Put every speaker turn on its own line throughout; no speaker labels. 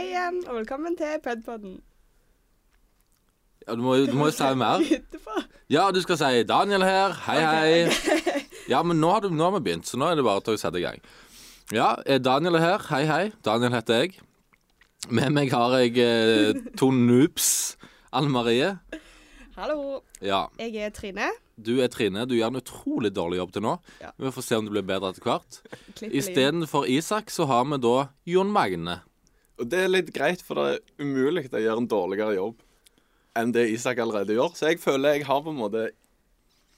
igjen, og velkommen til Pedpodden.
Ja, du, må, jo- du må jo si mer.
Etterpå.
Ja, du skal si 'Daniel her'. Hei, hei. Ja, men nå har, du, nå har vi begynt, så nå er det bare til å sette i gang. Ja, eh, Daniel er her. Hei, hei. Daniel heter jeg. Med meg har jeg eh, to noobs. Anne Marie.
Hallo,
Ja,
jeg er Trine.
du er Trine. Du gjør en utrolig dårlig jobb til nå.
Ja.
Vi får se om det blir bedre etter hvert.
Klipp inn.
Istedenfor Isak så har vi da Jon Magne.
Og det er litt greit, for det er umulig å gjøre en dårligere jobb enn det Isak allerede gjør. Så jeg føler jeg har på en måte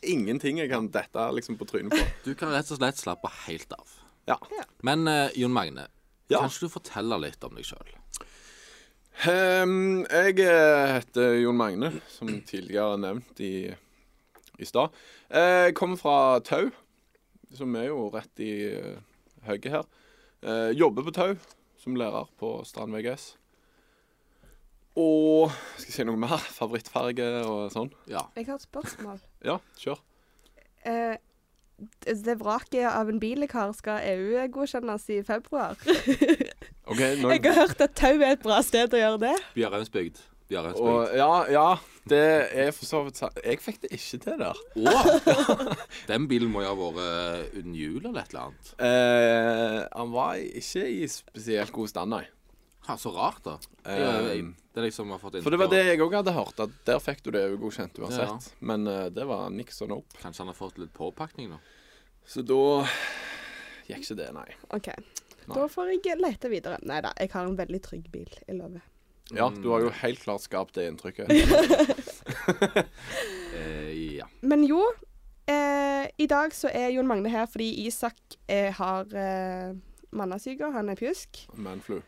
ingenting jeg kan dette liksom på trynet på.
Du kan rett og slett slappe helt av.
Ja.
Men eh, Jon Magne,
Ja.
kan ikke du fortelle litt om deg sjøl?
Ehm, jeg eh, heter Jon Magne, som tidligere nevnt i, i stad. Eh, Jeg kommer fra Tau, som er jo rett i eh, høyre her. Eh, jobber på Tau som lærer på Strand VGS. Og skal jeg si noe mer? Favorittfarge og sånn?
Ja.
Jeg har et spørsmål.
Ja, kjør.
Eh, det vraket av en bil jeg har, skal EU-godkjennes i februar.
Ok, nå...
Jeg har hørt at tau er et bra sted å gjøre det.
Bjørheimsbygd. Bjørheimsbygd.
Og, ja, ja, det er for så vidt sant. Jeg fikk det ikke til der.
Åh! Den bilen må jo ha vært eh, uten hjul eller et eller annet.
Eh, han var ikke i spesielt god stand, nei.
Ha, så rart, da. Jeg- jeg- Det er liksom jeg har fått
Ehm, For det var det jeg òg hadde hørt, at der fikk du det godkjent uansett.
Ja.
Men eh, det var niks og nope.
Kanskje han har fått litt påpakning nå.
Så da gikk ikke det, nei.
OK. Da får jeg lete videre. Nei da, jeg har en veldig trygg bil. Jeg lover.
Ja, du har jo helt klart skapt det inntrykket.
Eh, ja.
Men jo, eh, i dag så er Jon Magne her fordi Isak eh, har eh, mannasyke, han er pjusk.
Manflu.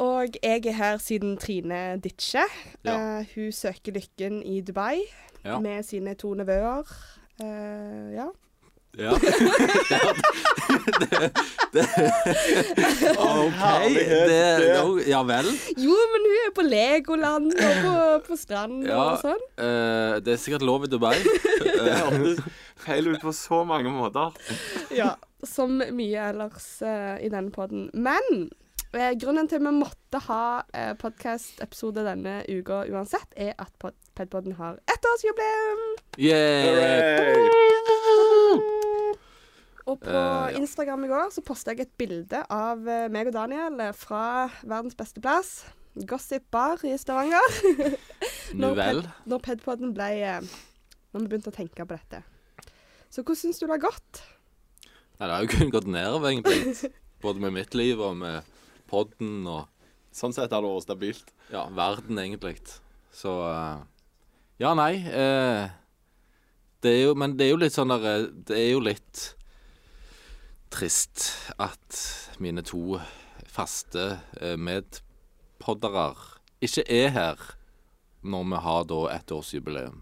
Og jeg er her siden Trine ditcher.
Ja.
Eh, hun søker lykken i Dubai
Ja.
med sine to nevøer. Eh, ja.
ja. OK. Det,
herlighet,
jo, ja vel.
Jo, men hun er på Legoland og på, på strand
Ja.
og sånn.
Eh, det er sikkert lov i Dubai.
Det hørtes feil ut på så mange måter.
Ja, Som mye ellers eh, i denne poden. Men eh, grunnen til vi måtte ha eh, podkast-episode denne uka uansett, er at pod Pedpodden har ettårsjubileum.
Eh,
Yeah.
Hooray!
Og på
Eh, ja.
Instagram i går så posta jeg et bilde av eh, meg og Daniel eh, fra verdens beste plass. Gossip bar i Stavanger.
Nu vel.
Ped- når Pedpodden ble eh, Når vi begynte å tenke på dette. Så hvordan syns du det har gått?
Nei, det har jo kun gått nedover, egentlig. Både med mitt liv og med podden og
Sånn sett har det vært stabilt.
ja, verden, egentlig. Så eh, Ja, nei. eh, det er jo Men det er jo litt sånn der eh, Det er jo litt trist at mine to faste eh, medpoddere ikke er her når vi har da ettårsjubileum.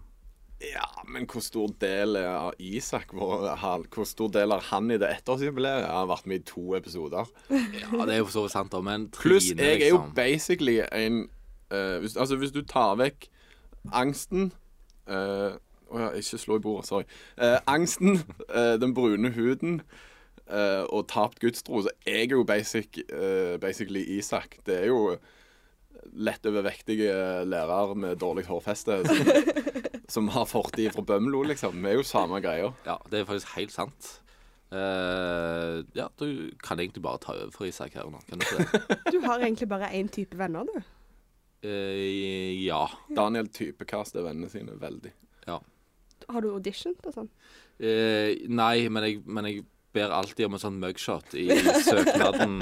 Ja, men hvor stor del av Isak vår- han- Hvor stor del har han i det ettårsjubileet? Han har vært med i to episoder.
Ja, det er jo for så vidt sant, da, men Trine,
Pluss, jeg er jo
liksom.
basically en eh, hvis, Altså, hvis du tar vekk angsten eh, Å ja, ikke slå i bordet. Sorry. Eh, angsten, eh, den brune huden eh, og tapt gudstro, så er jeg jo basic, eh, basically Isak. Det er jo lett overvektige lærere med dårlig hårfeste som, som har fortid fra Bømlo, liksom. Vi er jo samme greia.
Ja, det er faktisk helt sant. Eh, ja, du kan egentlig bare ta over for Isak her nå, kan du ikke det?
Du har egentlig bare én type venner, du.
Eh, ja.
Daniel typekaster vennene sine veldig.
ja.
Har du auditioned og sånn?
Eh, nei, men jeg, men jeg ber alltid om en sånn mugshot i søknaden.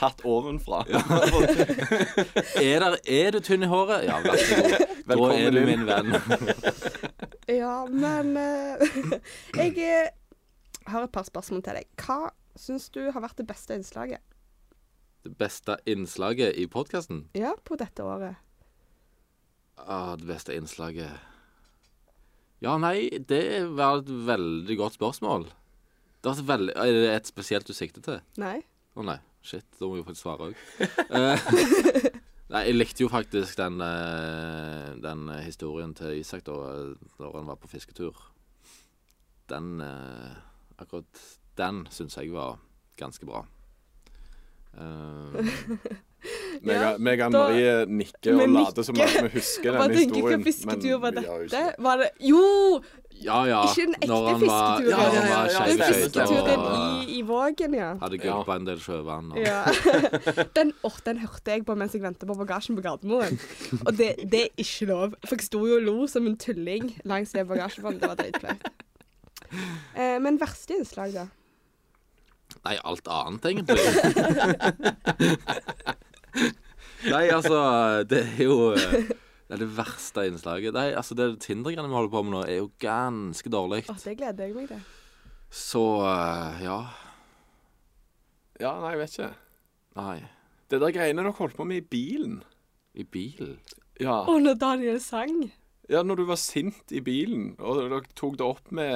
Tatt ovenfra.
Er, der, er du tynn i håret? Ja, vær så god. Da
Velkommen
er du
inn.
min venn.
Ja, men eh, Jeg eh, har et par spørsmål til deg. Hva syns du har vært det beste innslaget
Det beste innslaget i podkasten?
Ja, på dette året?
Ah, det beste innslaget Ja, nei, det var et veldig godt spørsmål. Det var et veldig, er det et spesielt du sikter til?
Nei?
Å nei, shit, da må jeg jo faktisk svare òg. nei, jeg likte jo faktisk den, eh, den eh, historien til Isak da eh, da han var på fisketur. Den eh, Akkurat den syns jeg var ganske bra. Eh,
Meg
Ja,
meg og
da-
Marie nikker
Vi
og later som
nikker.
at vi husker
Bare
den
tenker hva
historien.
fisketur var
vi gjør jo ikke
dette? Var det Jo!
Ja, ja.
Ikke den ekte altså.
Ah, Når han var-
fisketuren.
Ja, ja, ja,
Ja,
ja,
ja,
Den
skjønner,
fisketuren
og,
i, i Vågen, ja.
Hadde
Ja.
gulpa en del sjøvann. Og.
Ja. Den, åh, den hørte jeg på mens jeg ventet på bagasjen på Gardermoen. Og det, det er ikke lov. For jeg sto jo og lo som en tulling langs det bagasjebåndet. Det var dritflaut. Eh, men verste innslag, da?
Nei, alt annet, egentlig. Nei, altså, det er jo eh, Det er det verste innslaget. Nei, altså, det Tinder-greiene vi holder på med nå, er jo ganske dårlig.
Åh, det gleder jeg meg til.
Så eh, ja.
Ja, nei, jeg vet ikke.
Nei.
Det der greiene dere holdt på med i bilen.
I bilen.
Ja.
Og når Daniel sang.
ja, når du var sint i bilen, og dere tok det opp med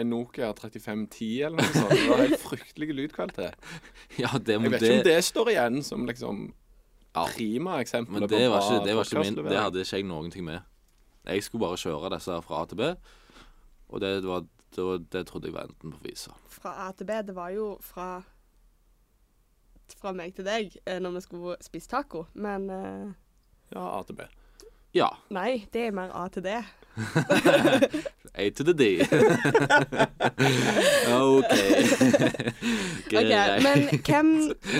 en Nokia 3510 eller noe sånt. Det var helt fryktelig lydkvalitet.
Ja, det,
Jeg
men
vet
det,
ikke om det står igjen som liksom
Ja.
prima eksempel
men
på
det var
bra
ikke, det var ikke min Det
podcastlevering.
hadde ikke jeg noen ting med. Jeg skulle bare kjøre disse her fra A til B, og det, var, det, var, det trodde jeg var enten på visa.
Fra A til B, det var jo fra fra meg til deg eh, når vi skulle spise taco. Men eh,
Ja, A til B.
Ja.
nei, det er mer A til D.
A to the D. OK.
Ok,
Greit.
men hvem,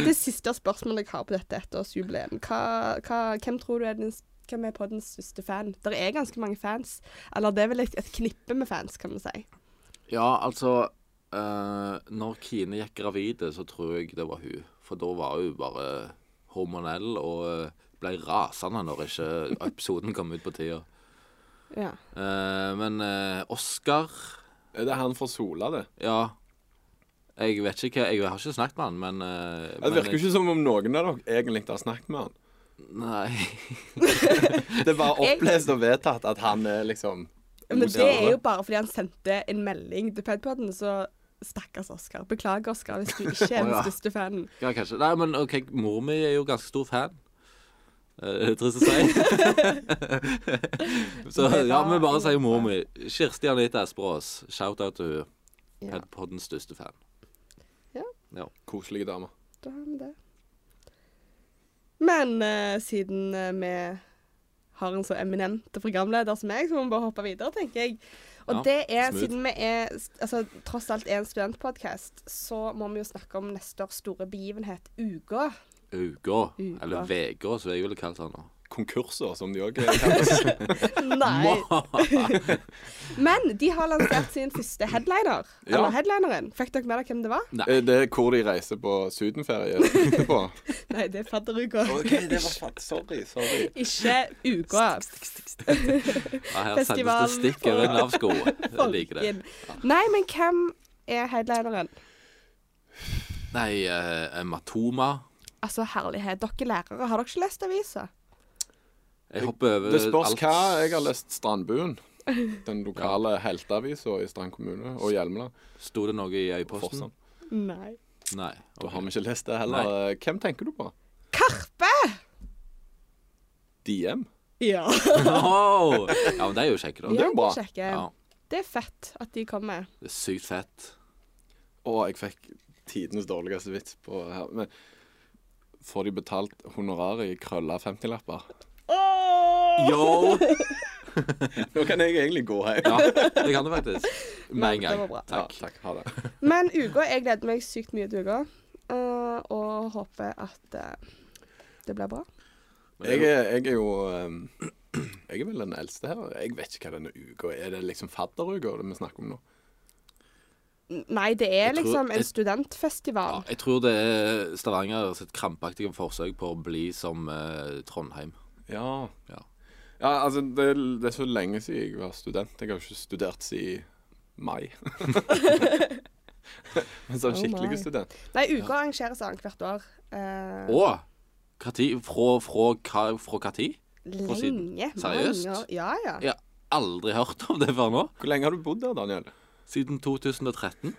det siste spørsmålet jeg har på dette ettårsjubileet hva, hva, Hvem tror du er den, hvem er poddens største fan? Det er ganske mange fans. Eller det er vel et, et knippe med fans, kan vi si.
Ja, altså eh, Når Kine gikk gravide, så tror jeg det var hun. For da var hun bare hormonell og eh, ble rasende når ikke episoden kom ut på tida.
Ja.
Eh, men eh, Oscar
Er det han fra Sola, det?
Ja. Jeg vet ikke hva Jeg har ikke snakket med han, men eh,
Det
men
virker jo ikke som om noen av dere egentlig har snakket med han.
Nei.
Det er bare
Jeg-
opplest og vedtatt at han er liksom
Men det er jo bare fordi han sendte en melding til Pedpodden, så stakkars Oskar. Beklager, Oskar, hvis du ikke er
Å,
den
ja.
største fanen.
Ja, kanskje. Nei, men OK, mor mi er jo ganske stor fan. Eh, Det er trist å si. Så ja, vi bare sier mor mi. Kirsti Anita Esprås. Shout-out til hun.
Ja.
Helt Poddens største fan.
koselige damer.
Da har vi det. Men eh, siden eh, vi har en så eminente programleder som meg, så må vi bare hoppe videre, tenker jeg. Og
Ja,
det er,
smooth.
siden vi er, s- altså, tross alt er en studentpodkast, så må vi jo snakke om neste års store begivenhet, uka.
Uga.
Uga.
Eller Vega, som jeg ville kalt han nå.
Konkurser, som de òg kalles.
Nei. Men de har lansert sin første headliner.
Ja.
Eller headlineren. Fikk dere med dere hvem det var?
Eh, Det er hvor de reiser på sydenferie etterpå.
Nei, det er fadderuka.
det var fatt. Sorry. sorry.
Ikke uka.
Ja, her sendes
Festival
det stikk over en lav sko. Jeg liker det.
Folken. Nei, men hvem er headlineren?
Nei, eh, Matoma.
Altså, herlighet. Dere lærere, har dere ikke lest aviser?
Jeg hopper over
Det spørs
alt.
hva jeg har lest Strandbuen. Den lokale helteavisa i Strand kommune og Hjelmeland.
Sto det noe i øyposten?
Forsand.
Nei.
Nei.
Da har vi ikke lest det heller. Eh, Hvem tenker du på?
Karpe!
Diem?
Ja.
Åh! Ja, men de er jo kjekke,
det
da.
er jo
de
bra.
er kjekke.
Ja,
Det er fett at de kommer.
det er sykt fett.
Å, jeg fikk tidenes dårligste vits på her. Men får de betalt honoraret i krølla 50-lapper?
Yo!
Nå kan jeg egentlig gå hjem.
Ja, det kan du faktisk. Med
Men
en
det var
gang.
bra.
Ja,
Takk.
takk. Ha det.
Men uka Jeg gleder meg sykt mye til uka. eh, og håper at eh, det blir bra.
Jeg er, jeg er jo ehm, Jeg er vel den eldste her. Jeg vet ikke hva denne uka er. Er det liksom fadderuka det vi snakker om nå?
N- Nei, det er
Jeg tror-
liksom en
jeg- Ja,
studentfestival.
jeg tror det er Stavanger sitt krampaktige forsøk på å bli som eh, Trondheim.
Ja.
Ja.
ja altså, det, er- det er så lenge siden jeg var student. Jeg har jo ikke studert siden mai. Men sånn
Oh my.
skikkelig student.
Nei, uka arrangeres annethvert år. Eh,
Å! Hva tid? Fra, fra, hva, fra hva tid? på siden.
lenge.
Seriøst?
mange år. Ja, ja.
Jeg har aldri hørt om det før nå.
Hvor lenge har du bodd der, Daniel?
Siden 2013.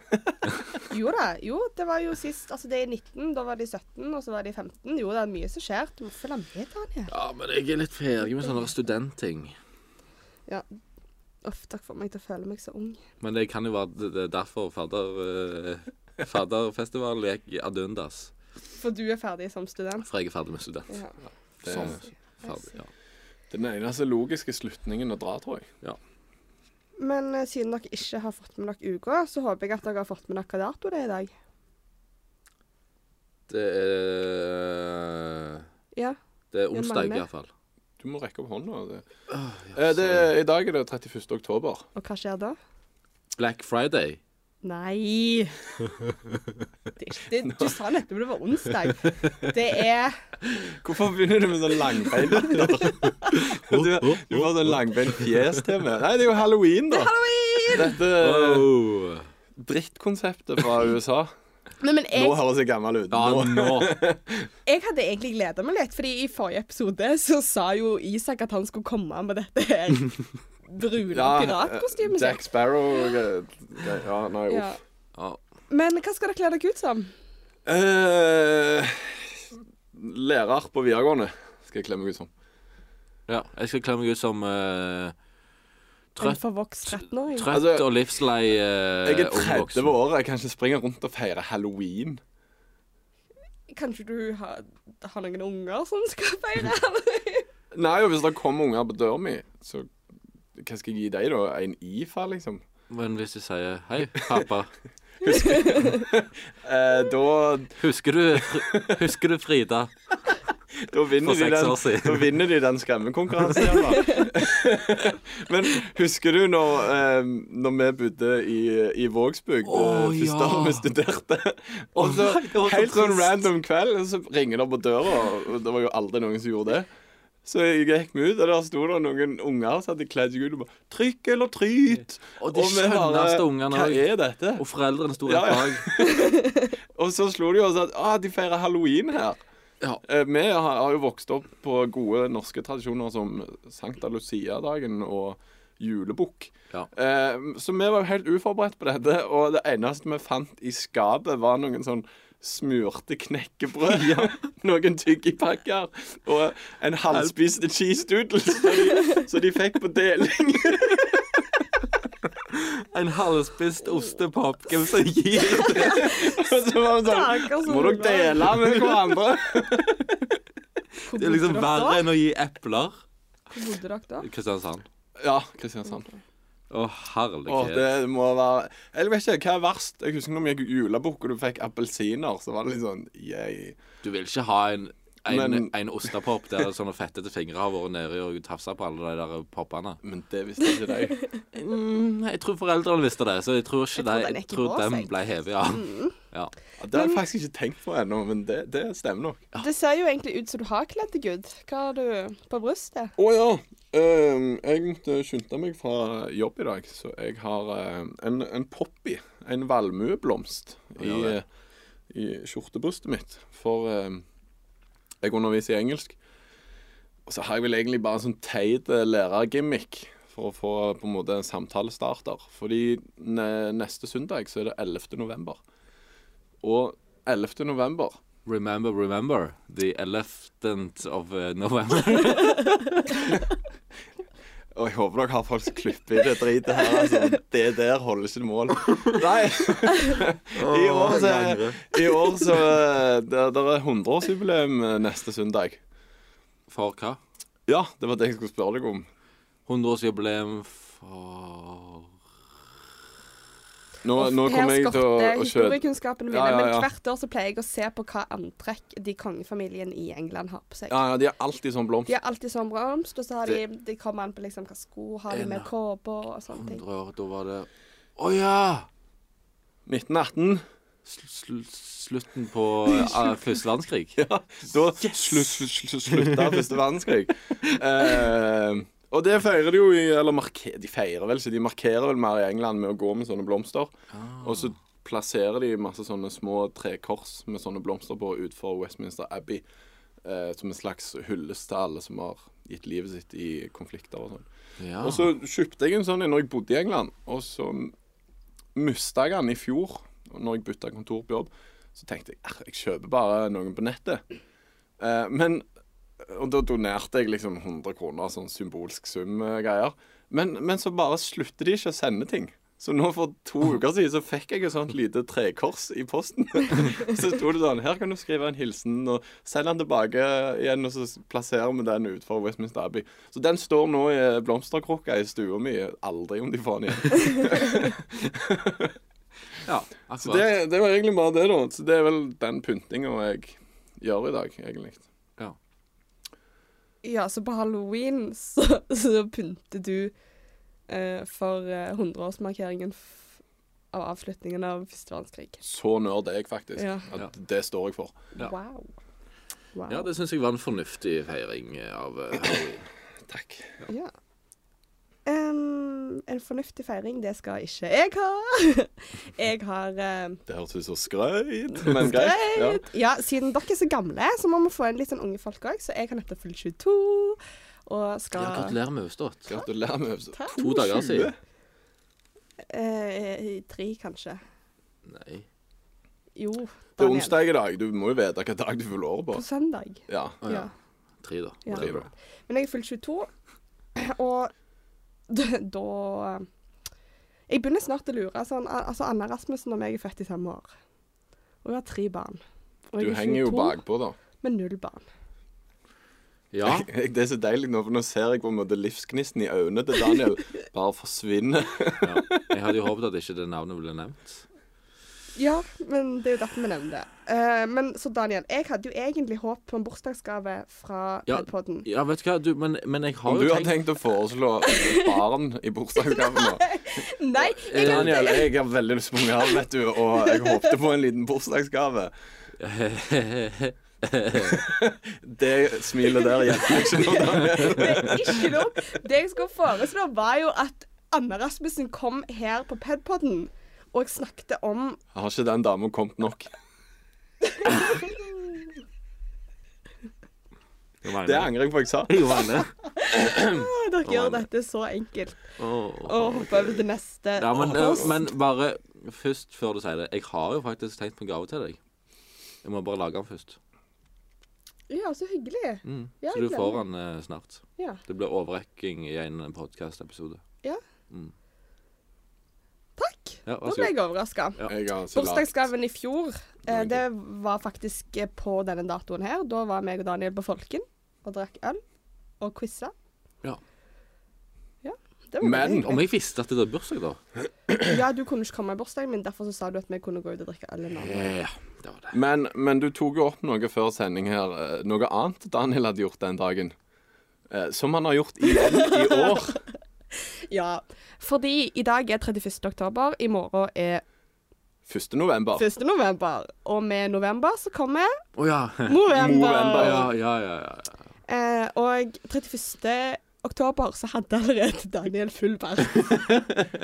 Jo da. Jo, det var jo sist Altså, det er 19, da var de 17, og så var de 15. Jo, det er mye som skjer. Du må følge med, Daniel.
Ja, men jeg er litt ferdig med sånne studentting.
Ja. Uff, dere får meg til å føle meg så ung.
Men det kan jo være det- det er derfor fadder, eh, fadderfestivalen gikk ad undas.
For du er ferdig som student?
For jeg er ferdig med student.
Ja.
Det
Som
er
ferdig, ja.
den eneste logiske slutningen å dra, tror jeg.
Men eh, siden dere ikke har fått med dere uka, så håper jeg at dere har fått med dere hva dato det er i dag.
Det er
Ja.
Det er onsdag,
Magne?
i hvert fall.
Du må rekke opp hånda. Det. Eh, det, I dag er det 31. oktober.
Og hva skjer da?
Black Friday.
Nei! Det, det, du sa nettopp det var onsdag. Det er
Hvorfor begynner du med sånn langbein? Du, du får sånn langbein fjes til meg. Nei, det er jo halloween, da.
halloween!
Dette
Oh.
drittkonseptet fra USA.
Nei, men
Nå
jeg,
høres jeg gammel ut.
Ja,
Nå.
nå.
jeg hadde egentlig gleda meg litt, fordi i forrige episode så sa jo Isak at han skulle komme med dette her brune
Ja, eh,
piratkostymet
Jack
sitt.
Sparrow eh, gre- Ja, nei,
Ja.
uff.
Ja.
Men hva skal dere kle dere ut som?
Eh, lærer på videregående skal jeg kle meg ut som.
ja. Jeg skal kle meg ut som eh,
En
trøtt,
forvokst 13-åring?
trøtt
Altså,
og livslei uh,
Jeg er 30 år. Jeg kan ikke springe rundt og feire halloween.
Kanskje du har, har noen unger som skal feire halloween?
Nei, og hvis det kommer unger på døra mi, så hva skal jeg gi deg da? En IFA, liksom?
Men hvis jeg sier 'hei, pappa,
Eh, da,
husker du, husker du Frida?'
da, vinner
For
de
seks
den,
år siden.
da vinner de den skremmekonkurransen igjen, da. Men husker du når, eh, når vi bodde i, i Vågsbygd,
Å,
eh, første
ja.
året vi studerte? Og så
nei, det var så
helt sånn
trist.
random kveld, og så ringer det på døra, og det var jo aldri noen som gjorde det. Så jeg gikk vi ut, og der sto det noen unger som hadde kledd seg ut og bare 'Trykk eller tryt?'
Og de
vi
skjønneste ungene
Hva
også.
er dette?
Og foreldrene sto
Ja,
rett
ja.
bak.
Og så slo de oss at ah, de feirer halloween her.
Ja.
Eh, Vi har, har jo vokst opp på gode norske tradisjoner som Sankta Lucia-dagen og julebukk.
Ja.
Eh, så vi var jo helt uforberedt på dette, og det eneste vi fant i skapet, var noen sånn smurte knekkebrød, noen tyggipakker og en halvspist cheese doodle som de, så de fikk på deling.
En halvspist ostepop. Hvem som gir det?
Og så var vi
Stakkars
sånn Må dere
unger."
dele med hverandre?
Hvor
Det er liksom
bodde dere
verre
da?
enn å gi epler.
Hvor bodde dere da?
Kristiansand.
Ja, Kristiansand.
Å,
Åh,
herlighet.
det må være Jeg vet ikke, hva er verst? Jeg husker når vi gikk julebukk og du fikk appelsiner, så var det litt sånn yeah.
Du vil ikke ha en en,
Men-
en ostepop der sånne fettete fingre har vært nedi og tafsa på alle de der poppene.
Men det visste ikke de.
Mm, jeg tror foreldrene visste det, så jeg tror ikke
Jeg tror
de-
den er
jeg
ikke
tror
på
dem
seg. Mm.
ble hevet av. Ja.
Ja, det har jeg faktisk ikke tenkt på ennå, men det, det stemmer nok.
Det ser jo egentlig ut som du har kledd deg ut. Hva har du på brystet?
Å ja. ehm, jeg måtte skynde meg fra jobb i dag, så jeg har ehm, en, en poppy, en valmueblomst, i,
Ja, det.
i skjortebrystet mitt. For ehm, jeg underviser i engelsk. Og så har jeg vel egentlig bare en sånn teit eh, lærergimmick for å få eh, på en måte samtalestarter. Fordi ne neste søndag så er det 11. november. Og 11. november
Remember, remember the 11th of eh, November.
Og jeg håper dere har folk som klipper i det dritet her. Altså. Det der holder ikke mål. Nei. I år så, i år så det, det er 100-årsjubileum neste søndag.
For hva?
Ja, det var det jeg skulle spørre deg om.
100-årsjubileum for
Nå, nå kommer jeg til å, å kjøpe
historiekunnskapene mine,
Ja, ja, ja.
men hvert år så pleier jeg å se på hva antrekk de kongefamilien i England har på seg.
ja, ja, De har alltid sånn blomst.
De har alltid sånn bromst, og så har de, de kommer an på liksom hva sko har de med
En-
kåper og sånne ting.
100 år. Da var det Å ja!
1918.
Sl sl slutten på eh, første verdenskrig.
Ja, da slu- slu- slu- slutta første verdenskrig. Eh, og det feirer de jo i Eller marke, de feirer vel ikke, de markerer vel mer i England med å gå med sånne blomster. Og så plasserer de masse sånne små trekors med sånne blomster på utenfor Westminster Abbey. eh, som en slags hyllest til alle som har gitt livet sitt i konflikter og sånn.
Ja.
Og så kjøpte jeg en sånn en når jeg bodde i England, og så mista jeg den i fjor og når jeg bytta kontor på jobb. Så tenkte jeg at jeg kjøper bare noen på nettet. Eh, men Og da donerte jeg liksom eh, 100 kroner, sånn symbolsk sum-greier. Men, men så bare slutter de ikke å sende ting. Så nå for to uker siden så fikk jeg et sånt lite trekors i posten. Så sto det sånn Her kan du skrive en hilsen, og selg den tilbake igjen, og så plasserer vi den utenfor Westminster Abbey. Så den står nå i blomsterkrukka i stua mi. Aldri om de får den igjen.
Ja,
Så
akkurat.
det, det var egentlig bare det, da. Så det er vel den pyntinga jeg gjør i dag, egentlig.
Ja.
Ja, så på halloween så, så pynter du eh, for eh, 100-årsmarkeringen f- av avslutningen av første verdenskrig.
Så nerd er jeg faktisk.
Ja.
At det står jeg for.
Ja.
Wow. wow.
ja, det syns jeg var en fornuftig feiring eh, av eh, halloween.
Takk.
Ja. Em, en fornuftig feiring, det skal ikke jeg ha. jeg har eh,
Det hørtes ut som skrøyt, men greit. Ja.
Greit. Ja, siden dere er så gamle, så må vi få inn litt sånn unge folk òg. Så jeg har nettopp fylt 22 og
Ja,
skal
gratulerer med overstått.
Gratulerer med øvelsen.
Takk.
To dager
22?
siden.
eh, i Tre, kanskje.
Nei.
Jo.
Det er
Daniel.
onsdag i dag. Du må jo vite hvilken dag du fyller år på.
På søndag.
Ja.
Å ja.
ja.
Tre, da.
Ja.
Tre,
Tre,
da.
da.
Men jeg er fylt 22, og d- da Jeg begynner snart å lure. Sånn, al- altså Anna Rasmussen og meg er født i samme år. Og hun har tre barn. Og
Du
jeg er
henger jo
22
bakpå, da.
Med null barn.
Ja.
Jeg, det er så deilig nå, for nå ser jeg på en måte livsgnisten i øynene til Daniel bare forsvinne.
ja. Jeg hadde jo håpet at ikke det navnet ble nevnt.
Ja, men det er jo derfor vi nevner det. Eh, men så Daniel, jeg hadde jo egentlig håp på en bursdagsgave fra
Ja.
Padpodden.
Ja, vet du hva, du, men, men jeg
Om
har
du
jo
har tenkt å foreslå barn i bursdagsgave nå
Nei!
Eh,
Jeg hadde,
Daniel, jeg har veldig lyst på mer, vet du, og jeg håpte på en liten bursdagsgave. Det smilet der hjelper ikke noe, Daniel.
det er ikke nok. Det jeg skulle foreslå, var jo at Anna Rasmussen kom her på Padpodden, og jeg snakket om
Har ikke den dama kommet nok? Det
Det
angrer jeg på jeg sa.
jeg mener.
Å, Dere gjør
nei.
dette så enkelt.
Åh.
Og hoppe over til neste.
Ja, men,
Åh,
eh, men bare først, før du sier det. Jeg har jo faktisk tenkt på en gave til deg. Jeg må bare lage den først.
ja, så hyggelig.
Mm.
Ja,
Så du
gleder
får
meg.
den eh, snart.
Ja.
Det blir overrekking i en podkast-episode.
Takk.
Mm.
Da
Ja, vær så
ble
god.
jeg overraska.
Ja.
Jeg har altså lagt
Bursdagsgaven i fjor, eh, det var faktisk eh, på denne datoen her. Da var meg og Daniel på Folken og drakk øl og quiza.
Ja.
Ja, det var
Men-
veldig hyggelig.
Om jeg visste at det var bursdag, da.
Ja, du kunne ikke komme i bursdagen min, derfor så sa du at vi kunne gå ut og drikke øl en annen.
Ja, det var det.
Men, men du tok jo opp noe før sending her. eh, Noe annet Daniel hadde gjort den dagen. Eh, Som han har gjort igjen i år.
Ja, fordi i dag er 31. oktober, i morgen er
1. november.
1. november. Og med november så kommer
Å ja.
Movember.
Movember,
ja. Ja, ja, ja.
Eh, og 31. oktober så hadde allerede Daniel full bær.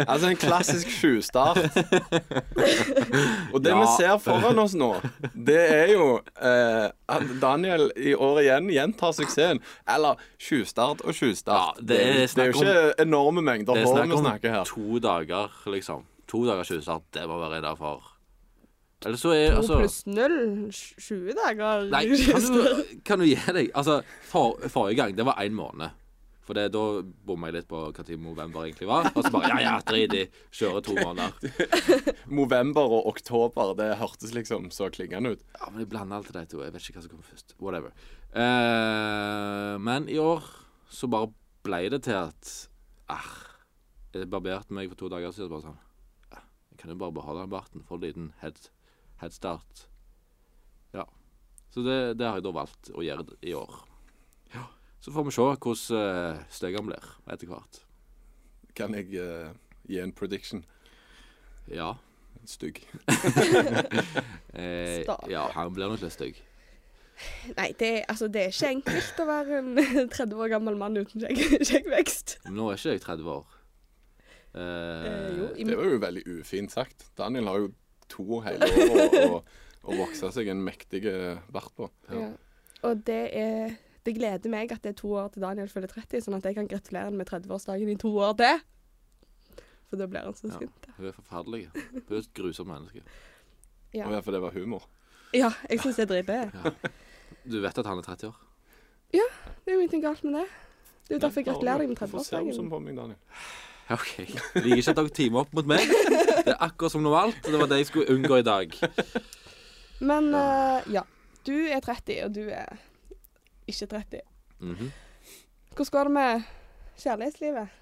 Altså en klassisk sjustart. Og det
Ja.
vi ser foran oss nå, det er jo eh, at Daniel i år igjen gjentar suksessen. Eller sjustart og sjustart.
Ja, det er
det er
snakk
jo ikke enorme mengder
Det er
hår
snakk
vi
om
snakker her.
to dager, liksom. To dagers utstart. Det må være innafor. Eller så er
2
altså
pluss 0, 20 dager.
Nei, kan du, kan du gi deg? Altså, for, forrige gang, det var én måned. For det, da bomma jeg litt på hva tid november egentlig var. Og så bare ja, ja, drit i. Kjøre to måneder.
November og oktober, det hørtes liksom så klingende ut.
Ja, men jeg blander alltid de to. Jeg vet ikke hva som kommer først. Whatever. Eh, men i år så bare ble det til at ah, Jeg barberte meg for to dager siden. Bare sånn ah, Jeg kan jo bare beholde den barten. Få en liten head, headstart. Ja. Så det, det har jeg da valgt å gjøre d- i år. Ja. Så får vi se hvordan uh, styggen blir etter hvert.
Kan jeg eh, gi en prediction?
Ja.
Stygg.
Eh,
Stakkar.
ja, han blir nok litt stygg.
Nei, det, er- altså, det er ikke enkelt å være en 30 år gammel mann uten skjegg- skjeggvekst.
Men Nå er ikke jeg 30 år.
Eh, jo, i
Det
min-
var jo veldig ufint sagt. Daniel har jo to hele år å, å, å vokse seg en mektig eh, bart på.
ja. Og det er det gleder meg at det er to år til Daniel fyller 30, sånn at jeg kan gratulere han med 30-årsdagen i to år til. For da blir han så
Ja.
skutt.
Hun er forferdelig. Hun er et grusomt menneske.
Ja.
Og i hvert fall det var humor.
Ja, jeg syns det er dritbra.
Du vet at han er 30 år?
Det er jo ingenting galt med det. Det er jo derfor jeg gratulerer deg med
Hvorfor ser du
30-årsdagen.
sånn på meg, Daniel?
Ja, OK. Jeg liker ikke at dere teamer opp mot meg. Det er akkurat som normalt. og Det var det jeg skulle unngå i dag.
Men eh, ja. Du er 30, og du er ikke 30.
Mhm.
Hvordan går det med kjærlighetslivet?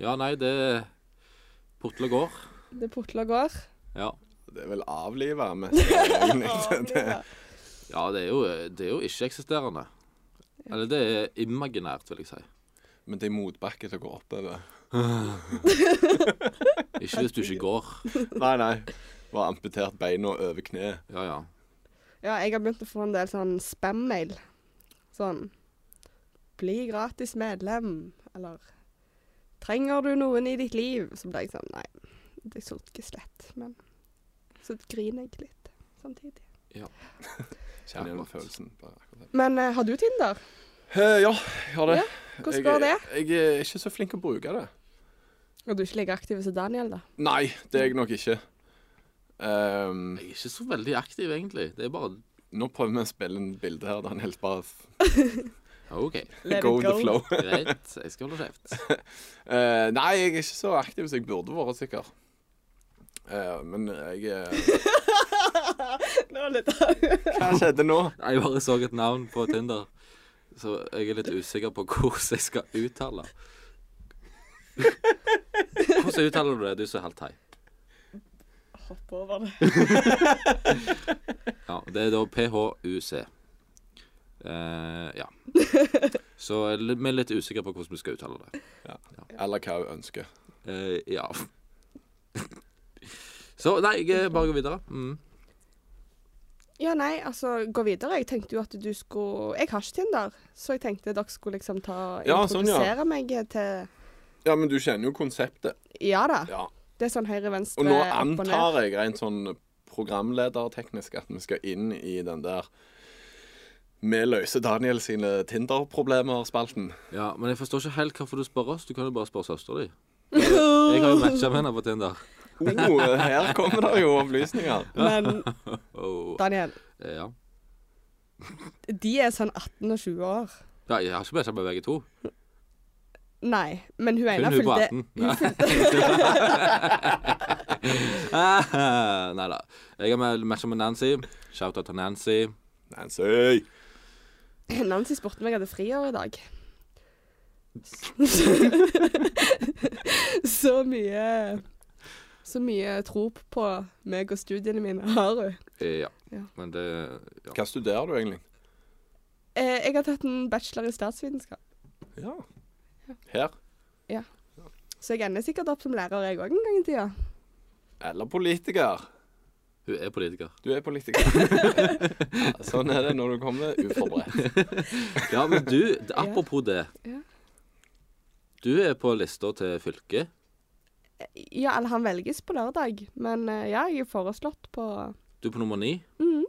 Ja, nei, det putler går.
Det putler og går.
Ja.
Det er vel avliva mest. egentlig. Det- det-
ja, det er jo, det er jo ikke-eksisterende. Eller det er imaginært, vil jeg si.
Men det er motbakke til å gå oppover.
Ikke hvis du ikke går.
Nei, nei. Var amputert beina over kneet.
Ja, ja.
Ja, jeg har begynt å få en del sånn spam-mail. Sånn Bli gratis medlem, eller Trenger du noen i ditt liv? Så ble jeg sånn Nei, det sulker slett, men Så griner jeg litt samtidig.
Kjenner igjen
Akkurat.
følelsen. Bare akkurat det.
Men eh, har du Tinder?
Eh, ja, jeg har det.
Ja, hvordan går det?
Jeg, jeg er ikke så flink å bruke det.
Og du er ikke like aktiv som Daniel, da?
Nei, det er jeg nok ikke. Ehm,
Jeg er ikke så veldig aktiv, egentlig. Det er bare
nå prøver vi å spille en bilde her. Daniel, bare f-
Ja, OK,
go with the flow.
greit. Jeg skal holde kjeft.
Eh, nei, jeg er ikke så aktiv som jeg burde vært, sikkert. Eh, men jeg eh,
Nå er det litt
Hva skjedde nå?
Jeg bare så et navn på Tinder, så jeg er litt usikker på hvordan jeg skal uttale. Hvordan uttaler du det, du som er halvt thai?
Hopp over det.
Ja, det er da PHUC. Eh, ja. Så jeg er litt- vi er litt usikre på hvordan vi skal uttale det.
Eller hva hun ønsker.
Eh, ja. Så nei, jeg eh, bare går videre. Mm.
Ja, nei, altså, gå videre. Jeg tenkte jo at du skulle Jeg har ikke Tinder, så jeg tenkte dere skulle liksom ta
Ja, sånn, ja.
Introdusere meg til
Ja, men du kjenner jo konseptet.
Ja da.
Ja.
Det er sånn høyre-venstre.
Og nå
opp og ned.
antar jeg rent sånn programlederteknisk at vi skal inn i den der Vi løser Daniel sine Tinder-problemer-spalten.
Ja, Men jeg forstår ikke helt hvorfor du spør oss. Du kan jo bare spørre søstera di. Jeg har jo matcha med henne på Tinder.
Oh, her kommer det jo opplysninger.
Men
Oh,
Daniel,
eh, ja.
de er sånn 18 og 20 år.
ja. Jeg har ikke matcha med begge to.
Nei, men hun
Hun
ene
er på
fulgte
18.
Hun fulgte
Nei da. Jeg har matcha med Nancy. Shout-out til Nancy.
Nancy!
Nancy spurte om jeg hadde friår i dag. så mye Så mye tro på meg og studiene mine har hun.
Eh, ja.
Ja.
Men det ja.
Hva studerer du egentlig?
Eh, jeg har tatt en bachelor i statsvitenskap,
Ja. Her.
så jeg ender sikkert opp som lærer jeg òg en gang i tida.
Eller politiker.
Hun er politiker.
Du er politiker. ja, sånn er det når du kommer uforberedt.
Ja, men du, d- apropos det.
Ja.
Du er på lista til fylket.
Ja, eller han velges på lørdag, men eh, ja, jeg er foreslått på
Du er på nummer ni.
Mhm.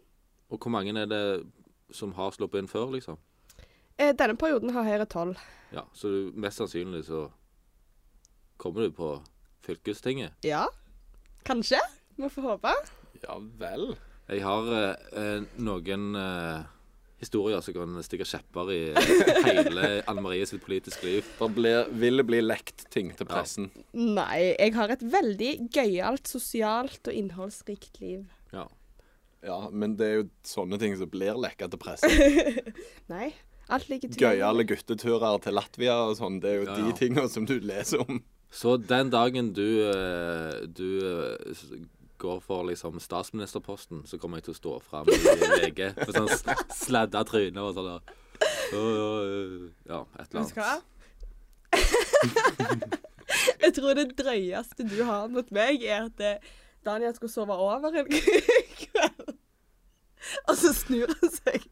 Og hvor mange er det som har sluppet inn før, liksom?
eh, Denne perioden har Høyre tolv.
Ja, Så du, mest sannsynlig så kommer du på fylkestinget.
Ja. Kanskje. Vi får håpe.
Ja vel.
Jeg har eh, eh, noen eh, historier som kan stikke kjepper i hele Anne Marie sitt politiske liv.
Det blir, vil det bli lekt ting til pressen.
Nei, jeg har et veldig gøyalt, sosialt og innholdsrikt liv.
Ja.
Ja, men det er jo sånne ting som blir lekka til pressen.
Nei, alt ligger
Gøyale gutteturer til Latvia og sånn. Det er jo
Ja, ja.
de tinga som du leser om.
Så den dagen du, eh, du eh, s- går for liksom statsministerposten, så kommer jeg til å stå fram i VG med sånn s- sladda tryne og sånn der. Øh, øh, Ja, et eller
Vet du hva?
annet.
jeg tror det drøyeste du har mot meg, er at eh, Daniel skulle sove over en kveld. Og så snur han seg.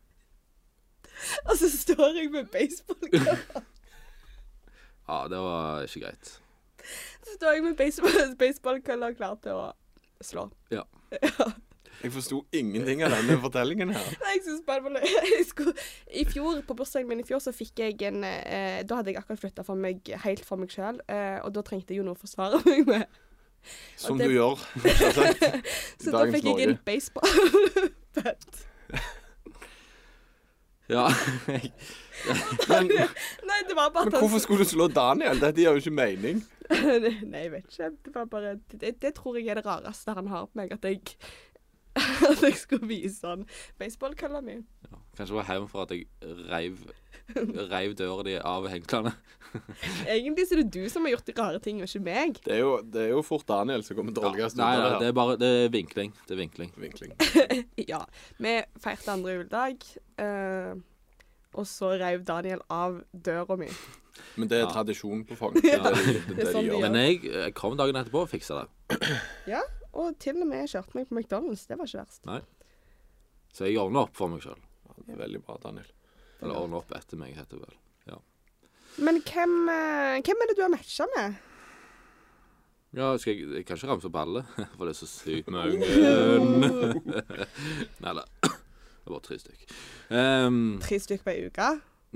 Og så står jeg med baseballkamera.
Ja, det var ikke greit.
Så står jeg med baseball- baseballkølla klar til å slå.
Ja.
Ja.
Jeg forsto ingenting av denne fortellingen her.
Nei, jeg synes bare bare- jeg skulle, I fjor, på bursdagen min i fjor, så fikk jeg en eh, Da hadde jeg akkurat flytta for meg helt for meg sjøl, eh, og da trengte jeg jo noe å forsvare meg med.
Som
det-
du gjør. selvsagt, I
Så da
dagens
fikk jeg
Norge.
en baseball-bat.
Ja,
Men,
Nei, det var bare
men
at han
hvorfor skulle du slå Daniel? Dette gir jo ikke mening.
Nei, jeg vet ikke. Det, var bare, det, det tror jeg er det rareste han har på meg, at jeg, at jeg skulle vise han baseballkølla mi.
Kanskje det var hevn for at jeg reiv, reiv døra di av hengklene.
Egentlig så er det du som har gjort de rare ting, og ikke meg.
Det er jo, det er jo fort Daniel som kommer til å
Nei,
olges ut av
nei,
det
det
her.
er bare det er vinkling. Det er vinkling.
Vinkling.
Ja. Vi feirte andre juledag, eh, og så reiv Daniel av døra mi.
Men det er
Ja.
tradisjon på Fogn. Det er det de- det er det
sånn de
de gjør.
gjør.
Men jeg, jeg kom dagen etterpå og fiksa det.
Ja, og til og med kjørte meg på McDonald's. Det var ikke verst.
Så jeg ordna opp for meg sjøl.
Det er Veldig bra, Daniel.
Eller ordna opp etter meg, heter det vel.
Men hvem, eh, hvem er det du har matcha med?
Ja, skal jeg, jeg kan ikke ramse opp alle, for det er så sykt mange. Nei da. Det var bare tre stykk. Um,
Tre stykker på ei uke?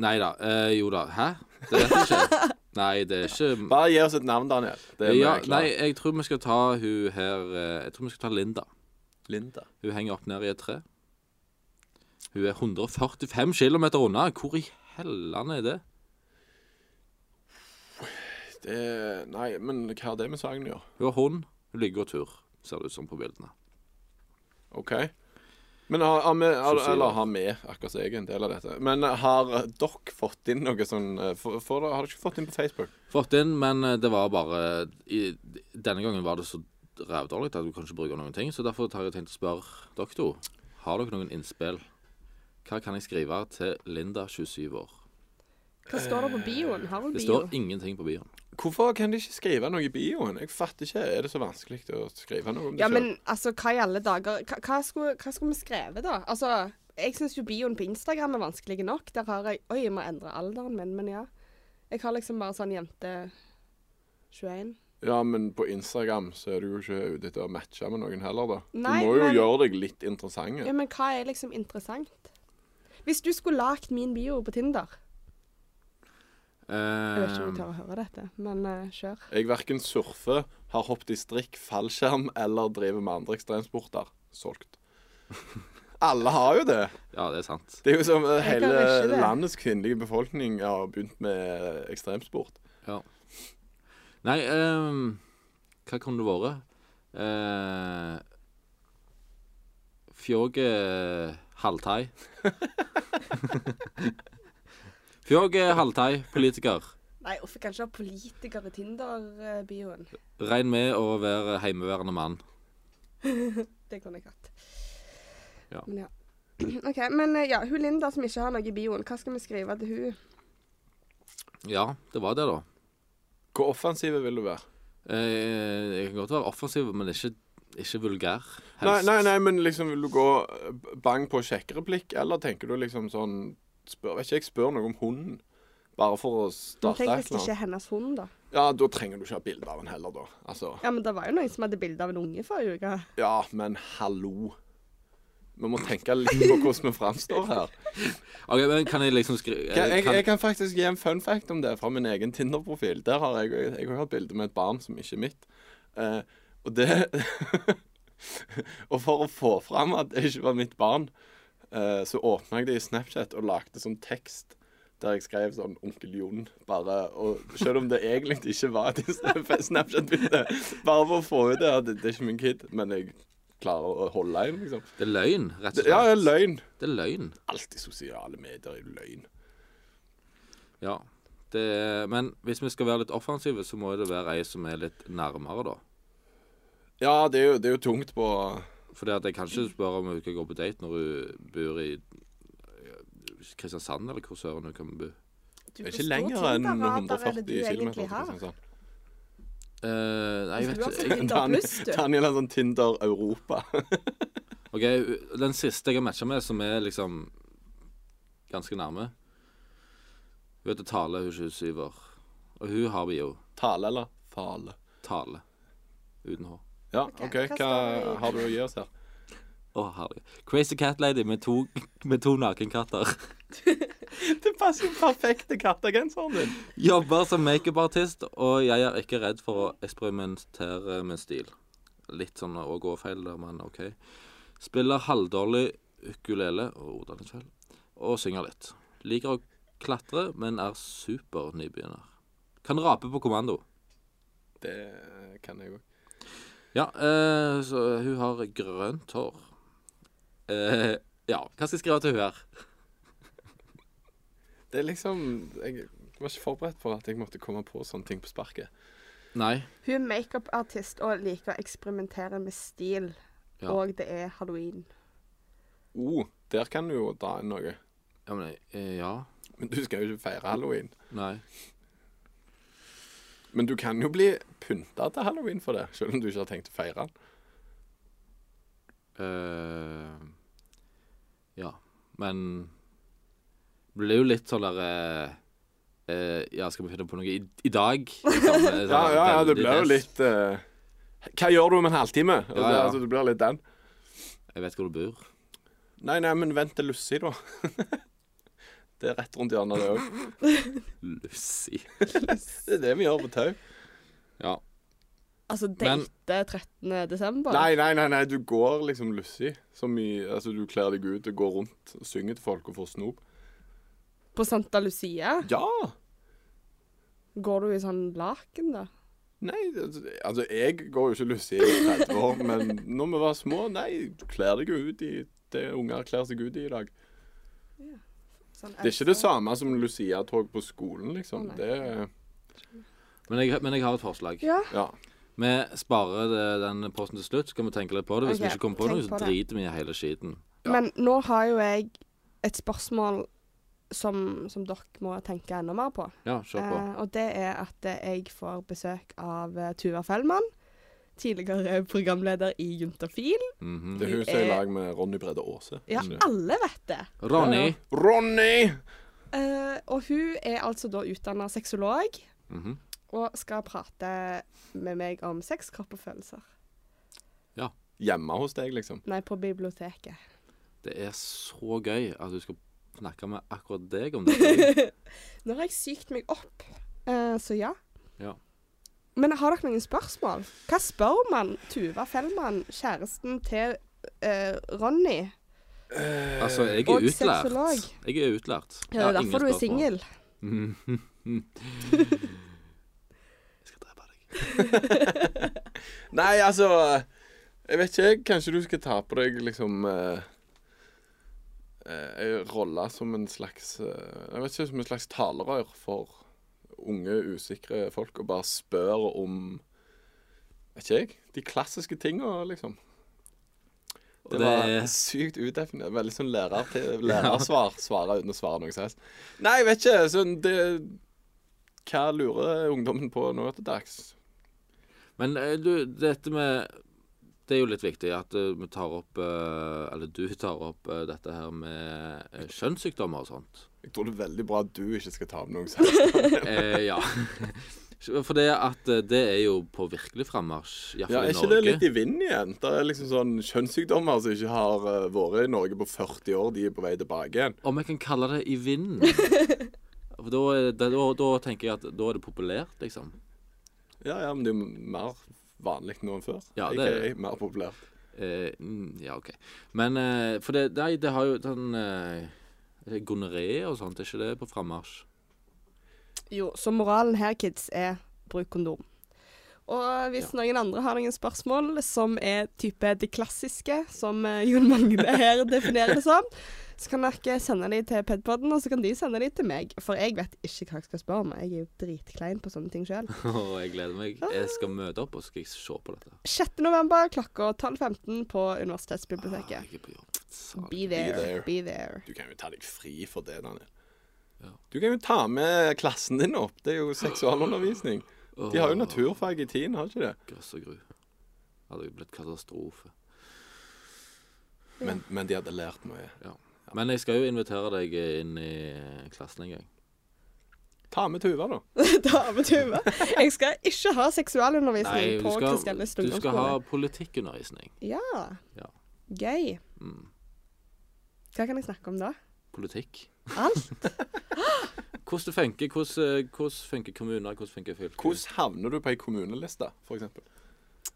nei da. eh, jo da. Hæ? Det vet jeg ikke. Nei, det er ikke
Bare gi oss et navn, Daniel. Det er vi
ja,
klare.
Nei, jeg tror vi skal ta hun her eh, Jeg tror vi skal ta Linda.
Linda.
Hun henger opp ned i et tre. Hun er 145 km unna. Hvor i hellene er det?
Det er, nei, men hva har det med saken å gjøre?
Hun har hund. Hun ligger og tur, ser det ut som på bildene.
OK. Men har, har vi, al-
Sosial.
eller har vi akkurat så jeg er en del av dette. Men har dere fått inn noe sånn eh, for, for, dere- Har dere ikke fått inn på Facebook?
Fått inn, men eh, det var bare i, Denne gangen var det så rævdårlig at du kan ikke bruke noen ting, så derfor har jeg tenkt å spørre dere to. Har dere noen innspill? Hva kan jeg skrive til Linda, 27 år?
Hva står det på bioen? Har hun
Det
bio?
står ingenting på bioen.
Hvorfor kan de ikke skrive noe i bioen? Jeg fatter ikke. Er det så vanskelig å skrive noe om det
Ja,
selv?
men altså, hva i alle dager Hva, hva, skulle, hva skulle vi skrevet, da? Altså, jeg syns jo bioen på Instagram er vanskelig nok. Der har jeg Oi, jeg må endre alderen min, men ja. Jeg har liksom bare sånn jente 21.
Ja, men på Instagram så er du jo ikke ute etter å matche med noen heller, da.
Nei,
du må jo
men-
gjøre deg litt
Ja,
interessant.
men hva er liksom interessant? Hvis du skulle lagd min bio på Tinder Jeg vet ikke om jeg tør å høre dette, men eh, kjør.
Jeg verken surfer, har hoppet i strikk, fallskjerm eller driver med andre ekstremsporter. Solgt. Alle har jo det.
Eh, Ja, det er sant.
Det er jo som eh,
Jeg kan ikke
hele
det.
landets kvinnelige befolkning har begynt med eh, ekstremsport.
Ja. Nei, ehm, hva kunne det vært? Eh, Fjåge halvthai. Fjåge halvthai, politiker.
Nei, hvorfor kan ikke ha politiker i Tinder-bioen?
Regn med å være heimeværende mann.
Det kunne jeg hatt.
Ja.
Men ja. OK. Men eh, ja, hun Linda som ikke har noe i bioen, hva skal vi skrive til hun?
Ja, det var det, da.
Hvor offensive vil du være?
Eh, jeg kan godt være offensiv, men ikke, ikke vulgær.
Nei,
helst.
nei, nei, men liksom vil du gå eh, bang på sjekkereplikk, eller tenker du liksom sånn spør, Vet ikke, jeg spør noe om hunden. Bare for å
Men
starte
tenk
et
hvis det ikke
eller annet.
er hennes hund, da.
Ja, da trenger du ikke ha bilde av den heller, da. Altså,
Ja, men det var jo noen som hadde bilde av en unge forrige uke.
ja, men hallo. Vi må tenke litt på hvordan vi framstår her.
Ok, men Kan jeg liksom skrive
Kan, jeg,
kan-
jeg kan faktisk gi en fun fact om det fra min egen Tinder-profil. Der har jeg, jeg har et bilde med et barn som ikke er mitt. Eh, og det Og for å få fram at det ikke var mitt barn, eh, så åpna jeg det i Snapchat og lagde sånn tekst der jeg skrev sånn 'Onkel Jon', bare. Og selv om det egentlig ikke var et Snapchat-bilde. Bare for å få ut det at det, det er ikke min kid, men jeg klarer å holde inn, liksom.
Det er løgn, rett og
Det,
slett.
ja, ja, løgn.
Det er løgn.
Alt i sosiale medier er jo løgn.
Ja. Det er, men hvis vi skal være litt offensive, så må det være ei som er litt nærmere, da.
Ja, det er jo, det er jo tungt på
Fordi at jeg kan ikke spørre om hun kan gå på date når hun bor i eh, Kristiansand, eller hvor søren hun kan bo.
Du,
Det er
hvor
ikke
stor
lenger enn
Tinder-radar er
140
det du
km.
egentlig har?
sånn.
Eh, nei, jeg
Hvis du har
vet
fått
ikke. Jeg-
Tinder pluss, du.
Daniel er sånn Tinder Europa.
OK, den siste jeg har matcha med, som er liksom ganske nærme Hun heter Tale, hun er 27 år. Og hun har vi jo.
Tale eller fale?
Tale. Uten H.
Ja,
Ok, hva står
OK. Hva
det i-
har du å gi oss her?
Å, herlig. Crazy Cat Lady med to, med to nakenkatter.
Det passer perfekt til kattegenseren din.
Jobber som makeupartist, og jeg er ikke redd for å eksperimentere med stil. Litt sånn å gå feil der, men OK. Spiller halvdårlig ukulele og ordaniskveld, og synger litt. Liker å klatre, men er super nybegynner. Kan rape på kommando.
Det kan jeg òg.
Ja, eh, så hun har grønt hår. Eh, ja, hva skal jeg skrive til hun her?
Det er liksom Jeg var ikke forberedt på at jeg måtte komme på sånne ting på sparket.
Nei.
Hun er makeupartist og liker å eksperimentere med stil.
Ja.
Og det er halloween.
Oh, der kan du jo dra inn noe.
Ja, men, jeg- eh, ja.
Men du skal jo ikke feire halloween.
Nei.
Men du kan jo bli pynta til halloween for det, selv om du ikke har tenkt å feire den.
Eh, ja. Men det blir jo litt sånn der eh, eh, Ja, skal vi finne på noe i, i dag? Liksom, eh, sånn
Ja, ja, ja, det
veldig
blir jo
nes.
litt eh, Hva gjør du om en halvtime? Altså,
Ja, ja.
altså, det blir litt den.
Jeg vet hvor du bor.
Nei, nei, men vent til Lussi, da. det er rett rundt hjørnet, det òg.
Lucy.
Det er det vi gjør på Tau.
Ja.
Altså
Men-
date 13. desember?
Nei, nei, nei, nei, du går liksom Lussi. Så mye Altså, du kler deg ut og går rundt og synger til folk og får snop.
På Santa Lucia?
Ja!
Går du i sånn laken, da?
Nei, altså, jeg går jo ikke Lussi i 30 år, men når vi var små, nei, du kler deg jo ut i det unger kler seg ut i i dag.
Sånn
Det er ikke det samme som Lucia-tog på skolen, liksom.
Å, nei.
Det er-
Men jeg, men jeg har et forslag.
Ja.
Ja.
Vi sparer det, den posten til slutt. Skal vi tenke litt på det? Hvis
Ok,
vi ikke kommer på
tenk
noe, så
på det.
driter vi i hele skiten.
Men nå har jo jeg et spørsmål som, som dere må tenke enda mer på.
Ja, kjør på.
Eh, og det er at eh, jeg får besøk av eh, Tuva Fellmann. Tidligere programleder i Juntafil.
Mhm.
Det er hun som er i lag med Ronny Brede Aase.
Ja,
ikke?
alle vet det.
Ronny.
Ronny!
Eh, og hun er altså da utdanna sexolog
Mhm.
og skal prate med meg om sex, kropp og følelser.
Hjemme hos deg, liksom.
Nei, på biblioteket.
Det er så gøy at du skal snakke med akkurat deg om det.
Nå har jeg sykt meg opp, eh, så ja.
Ja.
Men har dere noen spørsmål? Hva spør man Tuva Fellmann, kjæresten til eh, Ronny?
Altså, jeg
Eh, Og
er utlært.
sexolog.
Jeg er utlært. Jeg
Ja,
har
det er
ingen
derfor du er
spørsmål.
singel.
Jeg skal drepe deg.
Nei, altså Jeg vet ikke, jeg. Kanskje du skal ta på deg liksom eh, eh, Ei rolle som en slags eh, Jeg vet ikke, som en slags talerør for unge, usikre folk, og bare spør om Vet ikke jeg. De klassiske tinga, liksom. Det
Det
var
er-
sykt udefinert. Veldig sånn lærer til lærersvar. Svare uten å svare noe som helst. Nei, jeg vet ikke. Sånn, det, hva lurer ungdommen på nå til dags?
Men eh, du, dette med Det er jo litt viktig at eh, vi tar opp eh, Eller du tar opp eh, dette her med eh, kjønnssykdommer og sånt.
Jeg tror det er veldig bra at du ikke skal ta opp noe selv.
Eh, ja. For det at eh, det er jo på virkelig frammarsj,
Ja,
iallfall i
er ikke det
Norge.
litt i vinden igjen? Det er liksom sånn kjønnssykdommer som ikke har eh, vært i Norge på 40 år, de er på vei tilbake igjen.
Om jeg kan kalle det i vinden. For da, er det, da, da tenker jeg at da er det populært, liksom.
Ja, ja, men det er jo mer vanlig nå enn før.
Ja, det
det
er
er mer populært.
Eh, mm, ja, OK. Men eh, For det, nei, det har jo den eh, Gonoré og sånt, er ikke det på frammarsj?
Jo, så moralen her, kids, er bruk kondom. Og hvis noen andre har noen spørsmål som er type det klassiske, som eh, Jon Magne her definerer det som, så kan dere sende de til Pedpodden, og så kan de sende de til meg. For jeg vet ikke hva jeg skal spørre om. Jeg er jo dritklein på sånne ting sjøl.
Og jeg gleder meg. Jeg skal møte opp, og så skal jeg se på dette.
6. november klokka 12.15 på Universitetsbiblioteket.
Ah, Jeg er på jobb. Sal.
Be there,
there.
be there.
Du kan jo ta deg fri for det, Daniel.
Ja.
Du kan jo ta med klassen din opp. Det er jo seksualundervisning. De har jo naturfag i tiden, har de ikke det?
Grøss og gru. Hadde jo blitt katastrofe.
Men, men de hadde lært mye.
Men jeg skal jo invitere deg inn i eh, klassen en gang.
Ta med Tuva, da.
Dametuve. Jeg skal ikke ha seksualundervisning
Nei, du
på
skal,
Kristianes
du skal ha
ungdomsskole.
politikkundervisning.
Ja.
Ja.
Gøy.
Mm.
Hva kan jeg snakke om da?
Politikk.
Alt?
Hvordan det funker, hvordan, eh, hvordan funker kommuner, hvordan funker fylker.
Hvordan havner du på ei kommuneliste, for eksempel?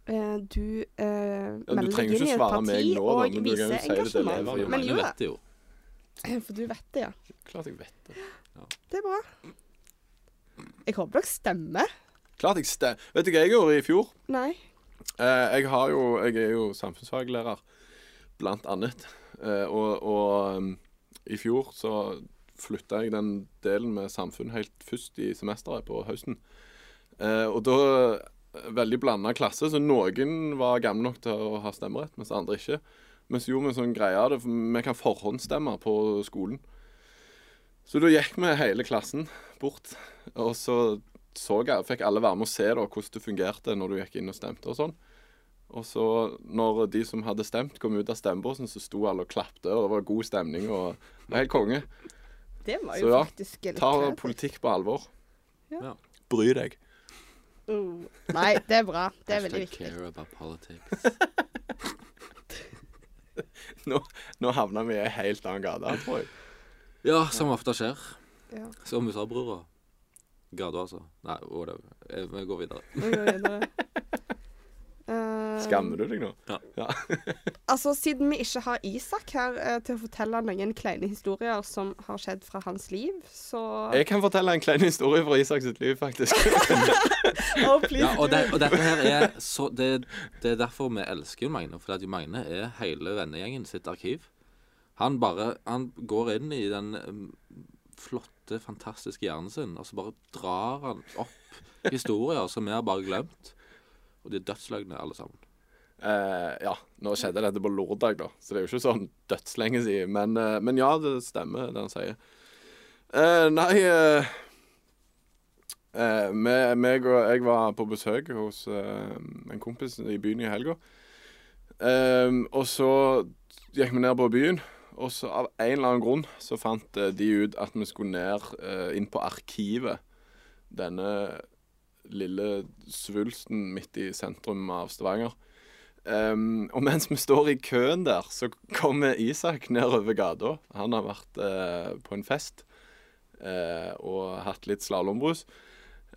Eh, du eh,
du
melder deg
trenger
inn i
ikke
et
svare meg
parti
nå, da,
og
men du kan jo
viser
si det til
engasjement.
elevene.
For jo,
Men
mange
jo da,
vet det jo.
for du vet det, ja.
Klart jeg vet det.
Det er bra. Jeg håper dere stemmer.
Klart jeg ste... Vet du hva jeg gjorde i fjor?
Nei.
Eh, jeg, har jo, jeg er jo samfunnsfaglærer, blant annet. Eh, og og um, i fjor så flytta jeg den delen med samfunn helt først i semesteret på høsten. Eh, og da eh, Veldig blanda klasse, så noen var gamle nok til å ha stemmerett, mens andre ikke. Men så gjorde vi en sånn greie av det, for vi kan forhåndsstemme på skolen. Så da gikk vi hele klassen bort, og så så jeg, fikk alle være med og se da, hvordan det fungerte når du gikk inn og stemte og sånn. Og så når de som hadde stemt, kom ut av stemmebåsen, så sto alle og klapte, og det var god stemning og det var helt konge.
Det var
Så
jo
ja,
faktisk litt
Ta
kreativt.
politikk på alvor.
Ja.
Bry deg.
Mm. Nei, det er bra. Det er veldig viktig.
Care about politics.
Nå, nå havna vi i ei helt annen gate, tror jeg.
Ja, som ofte skjer.
Ja.
Som USA-brura. Gada, altså. Nei, whatever. Eh, Vi går videre.
Nå går vi videre. Eh,
Skammer du deg nå?
Altså, Siden vi ikke har Isak her eh, til å fortelle noen kleine historier som har skjedd fra hans liv, så
Jeg kan fortelle en klein historie fra Isak sitt liv, faktisk.
Oh, please,
Ja, og,
do.
det, og dette her er så det, det er derfor vi elsker jo Magne. Fordi at jo Magne er hele vennegjengen sitt arkiv. Han bare Han går inn i den mm, flotte, fantastiske hjernen sin, og så bare drar han opp historier som vi har bare glemt. Og de er dødsløgne, alle sammen.
Eh, ja, nå skjedde dette på lørdag, da, så det er jo ikke sånn dødslenge siden. Men, eh, men ja, det stemmer, det han sier. Eh, nei eh, eh, me- meg og Jeg var på besøk hos eh, en kompis i byen i helga. Eh, og så gikk vi ned på byen, og så av en eller annen grunn så fant eh, de ut at vi skulle ned eh, inn på Arkivet. Denne lille svulsten midt i sentrum av Stavanger. Ehm, og mens vi står i køen der, så kommer Isak nedover gata. Han har vært eh, på en fest eh, og hatt litt slalåmbrus.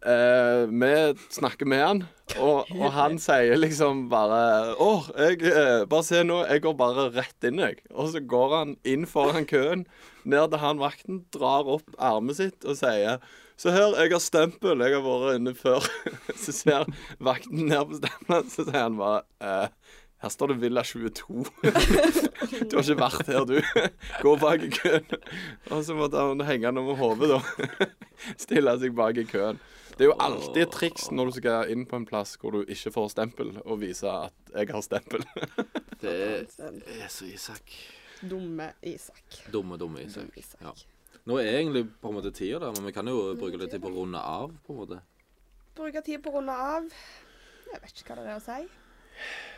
Eh, vi snakker med han, og, og han sier liksom bare Å, jeg eh, Bare se nå, jeg går bare rett inn, jeg. Og så går han inn foran køen, ned til han vakten, drar opp armet sitt og sier Se her, jeg har stempel, jeg har vært inne før. Så ser vakten ned på stempelen, så sier han bare eh, Her står det Villa 22. Du har ikke vært her, du. Gå bak i køen. Og så måtte han henge han over hodet, da. Stille seg bak i køen. Det er jo alltid et triks når du skal inn på en plass hvor du ikke får stempel, og vise at jeg har stempel.
Det er,
Den
det er så Isak.
Dumme Isak.
Dumme, dumme Isak.
Dumme Isak.
Ja. Nå er egentlig på en måte tida der, men vi kan jo bruke litt tid på å runde av, på en måte.
Bruker tid på å runde av. Jeg vet ikke hva det er å si.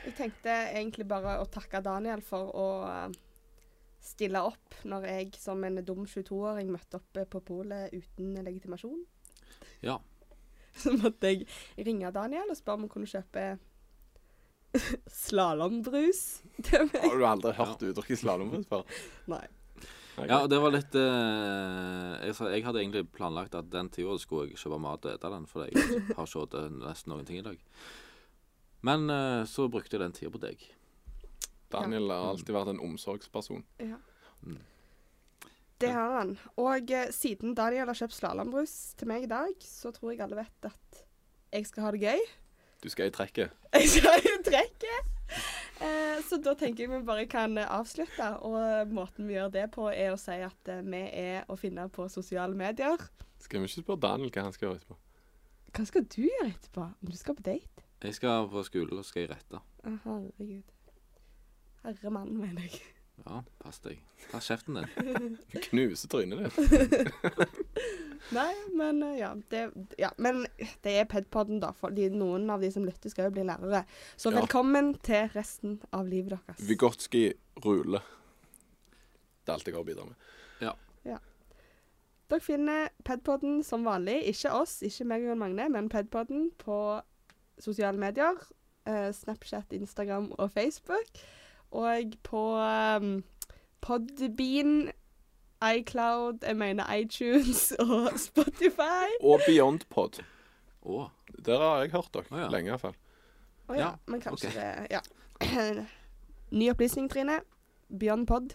Jeg tenkte egentlig bare å takke Daniel for å eh, stille opp når jeg som en dum 22-åring møtte opp eh, på polet uten legitimasjon.
Ja.
Så måtte jeg ringe Daniel og spørre om han kunne kjøpe slalåmbrus til meg.
Har du aldri hørt du drikke slalåmbrus før?
Nei.
Ok.
Ja, og det var litt eh, jeg, sa, jeg hadde egentlig planlagt at den tida skulle jeg kjøpe mat og ete den, for jeg har ikke spist nesten noen ting i dag. Men eh, så brukte jeg den tida på deg.
Daniel har alltid vært en omsorgsperson.
Ja.
Mm.
Det har han. Og eh, siden Daniel har kjøpt slalåmbrus til meg i dag, så tror jeg alle vet at jeg skal ha det gøy.
Du skal i trekket.
Jeg skal jo trekke! Eh, så da tenker jeg vi bare kan eh, avslutte. Og eh, måten vi gjør det på, er å si at eh, vi er å finne på sosiale medier.
Skal vi ikke spørre Daniel hva han skal gjøre etterpå?
Hva skal du gjøre etterpå? Om du skal på date?
Jeg skal på skole og skal jeg rette.
Å, Herregud. Herremannen, mener jeg.
Ja, pass deg. Ta kjeften din.
Knuse trynet ditt.
Nei, men eh, ja. Det, ja, men det er Pedpodden, da. For de- noen av de som lytter, skal jo bli lærere. Så
Ja.
velkommen til resten av livet deres.
Vygotski rule. Det er alt jeg har å bidra med.
Dere finner Pedpodden som vanlig. Ikke oss, ikke meg og Jon Magne, men Pedpodden på sosiale medier. eh, Snapchat, Instagram og Facebook. Og på um, Podbean, iCloud, jeg mener iTunes og Spotify.
Og BeyondPod.
Å,
Der har jeg hørt dere.
Å, ja.
Lenge, i hvert fall.
Å ja,
Ja,
men kanskje
ok.
det Ja. Ny opplysning, Trine. Beyond Pod.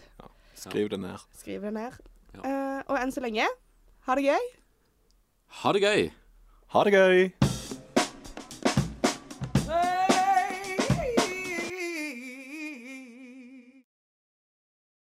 Skriv det ned.
Skriv det ned.
Ja.
Eh, og enn så lenge, ha det gøy.
ha det gøy!
Ha det gøy!